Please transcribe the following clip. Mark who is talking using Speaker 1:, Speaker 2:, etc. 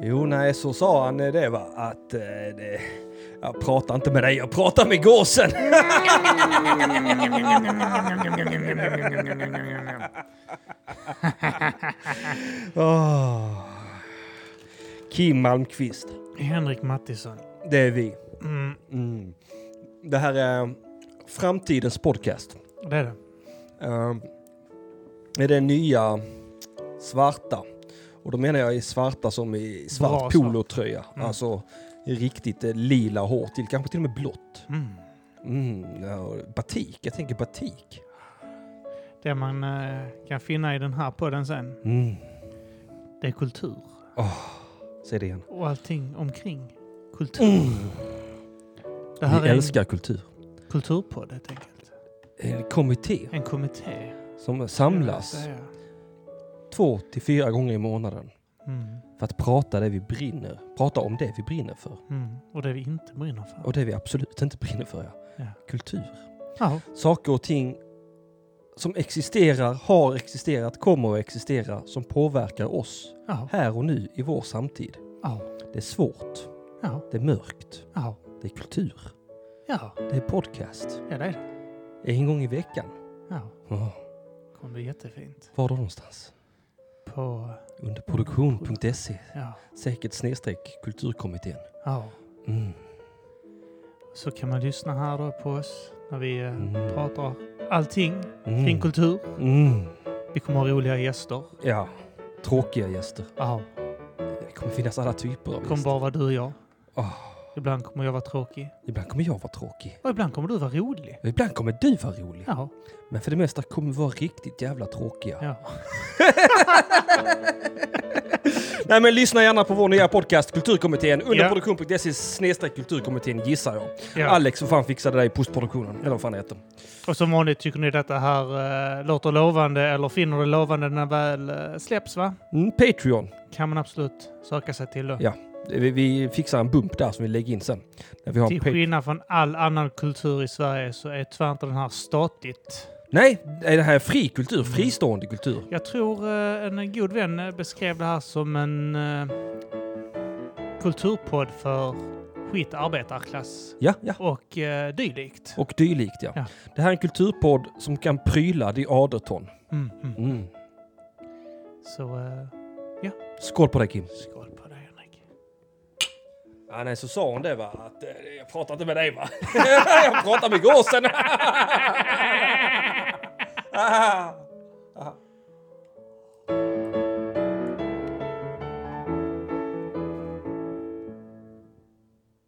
Speaker 1: Jo, nej, så sa han eh, det va, att eh, det, jag pratar inte med dig, jag pratar med gåsen. Åh. Ah. Kim Malmqvist,
Speaker 2: Henrik Mattisson.
Speaker 1: det är vi.
Speaker 2: Mm,
Speaker 1: Mm. Det här är framtidens podcast.
Speaker 2: det är det.
Speaker 1: Eh, Det är det nya svarta. Och då menar jag i svarta som i svart
Speaker 2: Bra svart.
Speaker 1: polotröja.
Speaker 2: Mm.
Speaker 1: Alltså riktigt eh, lila och hårt till, kanske till och med blått.
Speaker 2: Mm.
Speaker 1: Mm, ja, och batik, jag tänker batik.
Speaker 2: Det man eh, kan finna i den här podden sen,
Speaker 1: Mm.
Speaker 2: det är kultur.
Speaker 1: Säg det igen.
Speaker 2: Och allting omkring kultur.
Speaker 1: Mm.
Speaker 2: Det här
Speaker 1: Vi
Speaker 2: är
Speaker 1: älskar kultur.
Speaker 2: en kulturpodd helt enkelt.
Speaker 1: En kommitté
Speaker 2: En kommitté.
Speaker 1: som
Speaker 2: skulle jag
Speaker 1: samlas
Speaker 2: säga.
Speaker 1: två till fyra gånger i månaden
Speaker 2: Mm,
Speaker 1: för att prata det vi brinner, prata om det vi brinner för.
Speaker 2: mm. Och det vi inte brinner för.
Speaker 1: Och det vi absolut inte brinner för, ja.
Speaker 2: Ja.
Speaker 1: Kultur.
Speaker 2: Ja,
Speaker 1: saker och ting som existerar, har existerat, kommer att existera, som påverkar oss
Speaker 2: ja,
Speaker 1: här och nu i vår samtid.
Speaker 2: ja,
Speaker 1: Det är svårt,
Speaker 2: ja,
Speaker 1: det är mörkt,
Speaker 2: ja,
Speaker 1: det är kultur,
Speaker 2: ja,
Speaker 1: det är podcast.
Speaker 2: ja det är det.
Speaker 1: En gång i veckan.
Speaker 2: Ja,
Speaker 1: Oh,
Speaker 2: kommer bli jättefint.
Speaker 1: var då någonstans?
Speaker 2: På,
Speaker 1: Under produktion.se.
Speaker 2: ja,
Speaker 1: Säkert snedstreck kulturkommittén.
Speaker 2: ja.
Speaker 1: Mm.
Speaker 2: Så kan man lyssna här då på oss när vi eh,
Speaker 1: Mm.
Speaker 2: pratar allting
Speaker 1: Mm.
Speaker 2: kring kultur.
Speaker 1: Mm.
Speaker 2: Vi kommer ha roliga gäster.
Speaker 1: Ja, tråkiga gäster.
Speaker 2: Ja,
Speaker 1: Det kommer finnas alla typer av
Speaker 2: det kommer
Speaker 1: gäster.
Speaker 2: bara vara du och jag.
Speaker 1: Ah,
Speaker 2: Ibland kommer jag vara tråkig.
Speaker 1: ibland kommer jag vara tråkig.
Speaker 2: Och ibland kommer du vara rolig.
Speaker 1: Ibland kommer du vara rolig.
Speaker 2: Ja,
Speaker 1: Men för det mesta kommer vi vara riktigt jävla tråkiga.
Speaker 2: ja.
Speaker 1: Nej men lyssna gärna på vår nya podcast Kulturkommittén under
Speaker 2: Ja.
Speaker 1: produktion.se snedstreck E kulturkommittén gissar jag.
Speaker 2: ja.
Speaker 1: Alex för fan fixade det i postproduktionen. Eller vad fan det heter.
Speaker 2: Och som vanligt, tycker ni detta här eh, låter lovande eller finner det lovande när väl eh, släpps va?
Speaker 1: Mm, Patreon.
Speaker 2: Kan man absolut söka sig till då.
Speaker 1: Ja, Vi, vi fixar en bump där som vi lägger in sen. När vi har en
Speaker 2: Till
Speaker 1: pa-
Speaker 2: skillnad från all annan kultur i Sverige så är tyvärr inte den här statligt.
Speaker 1: Nej, det här är fri kultur. Fristående kultur.
Speaker 2: Jag tror eh, en god vän eh, beskrev det här som en eh, kulturpodd för skit arbetarklass
Speaker 1: Ja, ja.
Speaker 2: och eh, dylikt.
Speaker 1: Och dylikt ja.
Speaker 2: Ja.
Speaker 1: Det här är en kulturpodd som kan pryla The Aderton.
Speaker 2: Mm, mm.
Speaker 1: Mm.
Speaker 2: Så eh,
Speaker 1: Skål på dig Kim.
Speaker 2: skål på dig Henrik.
Speaker 1: Ja, nej, så sa hon det va? Att eh, jag pratar inte med dig va? jag pratar med gåsen.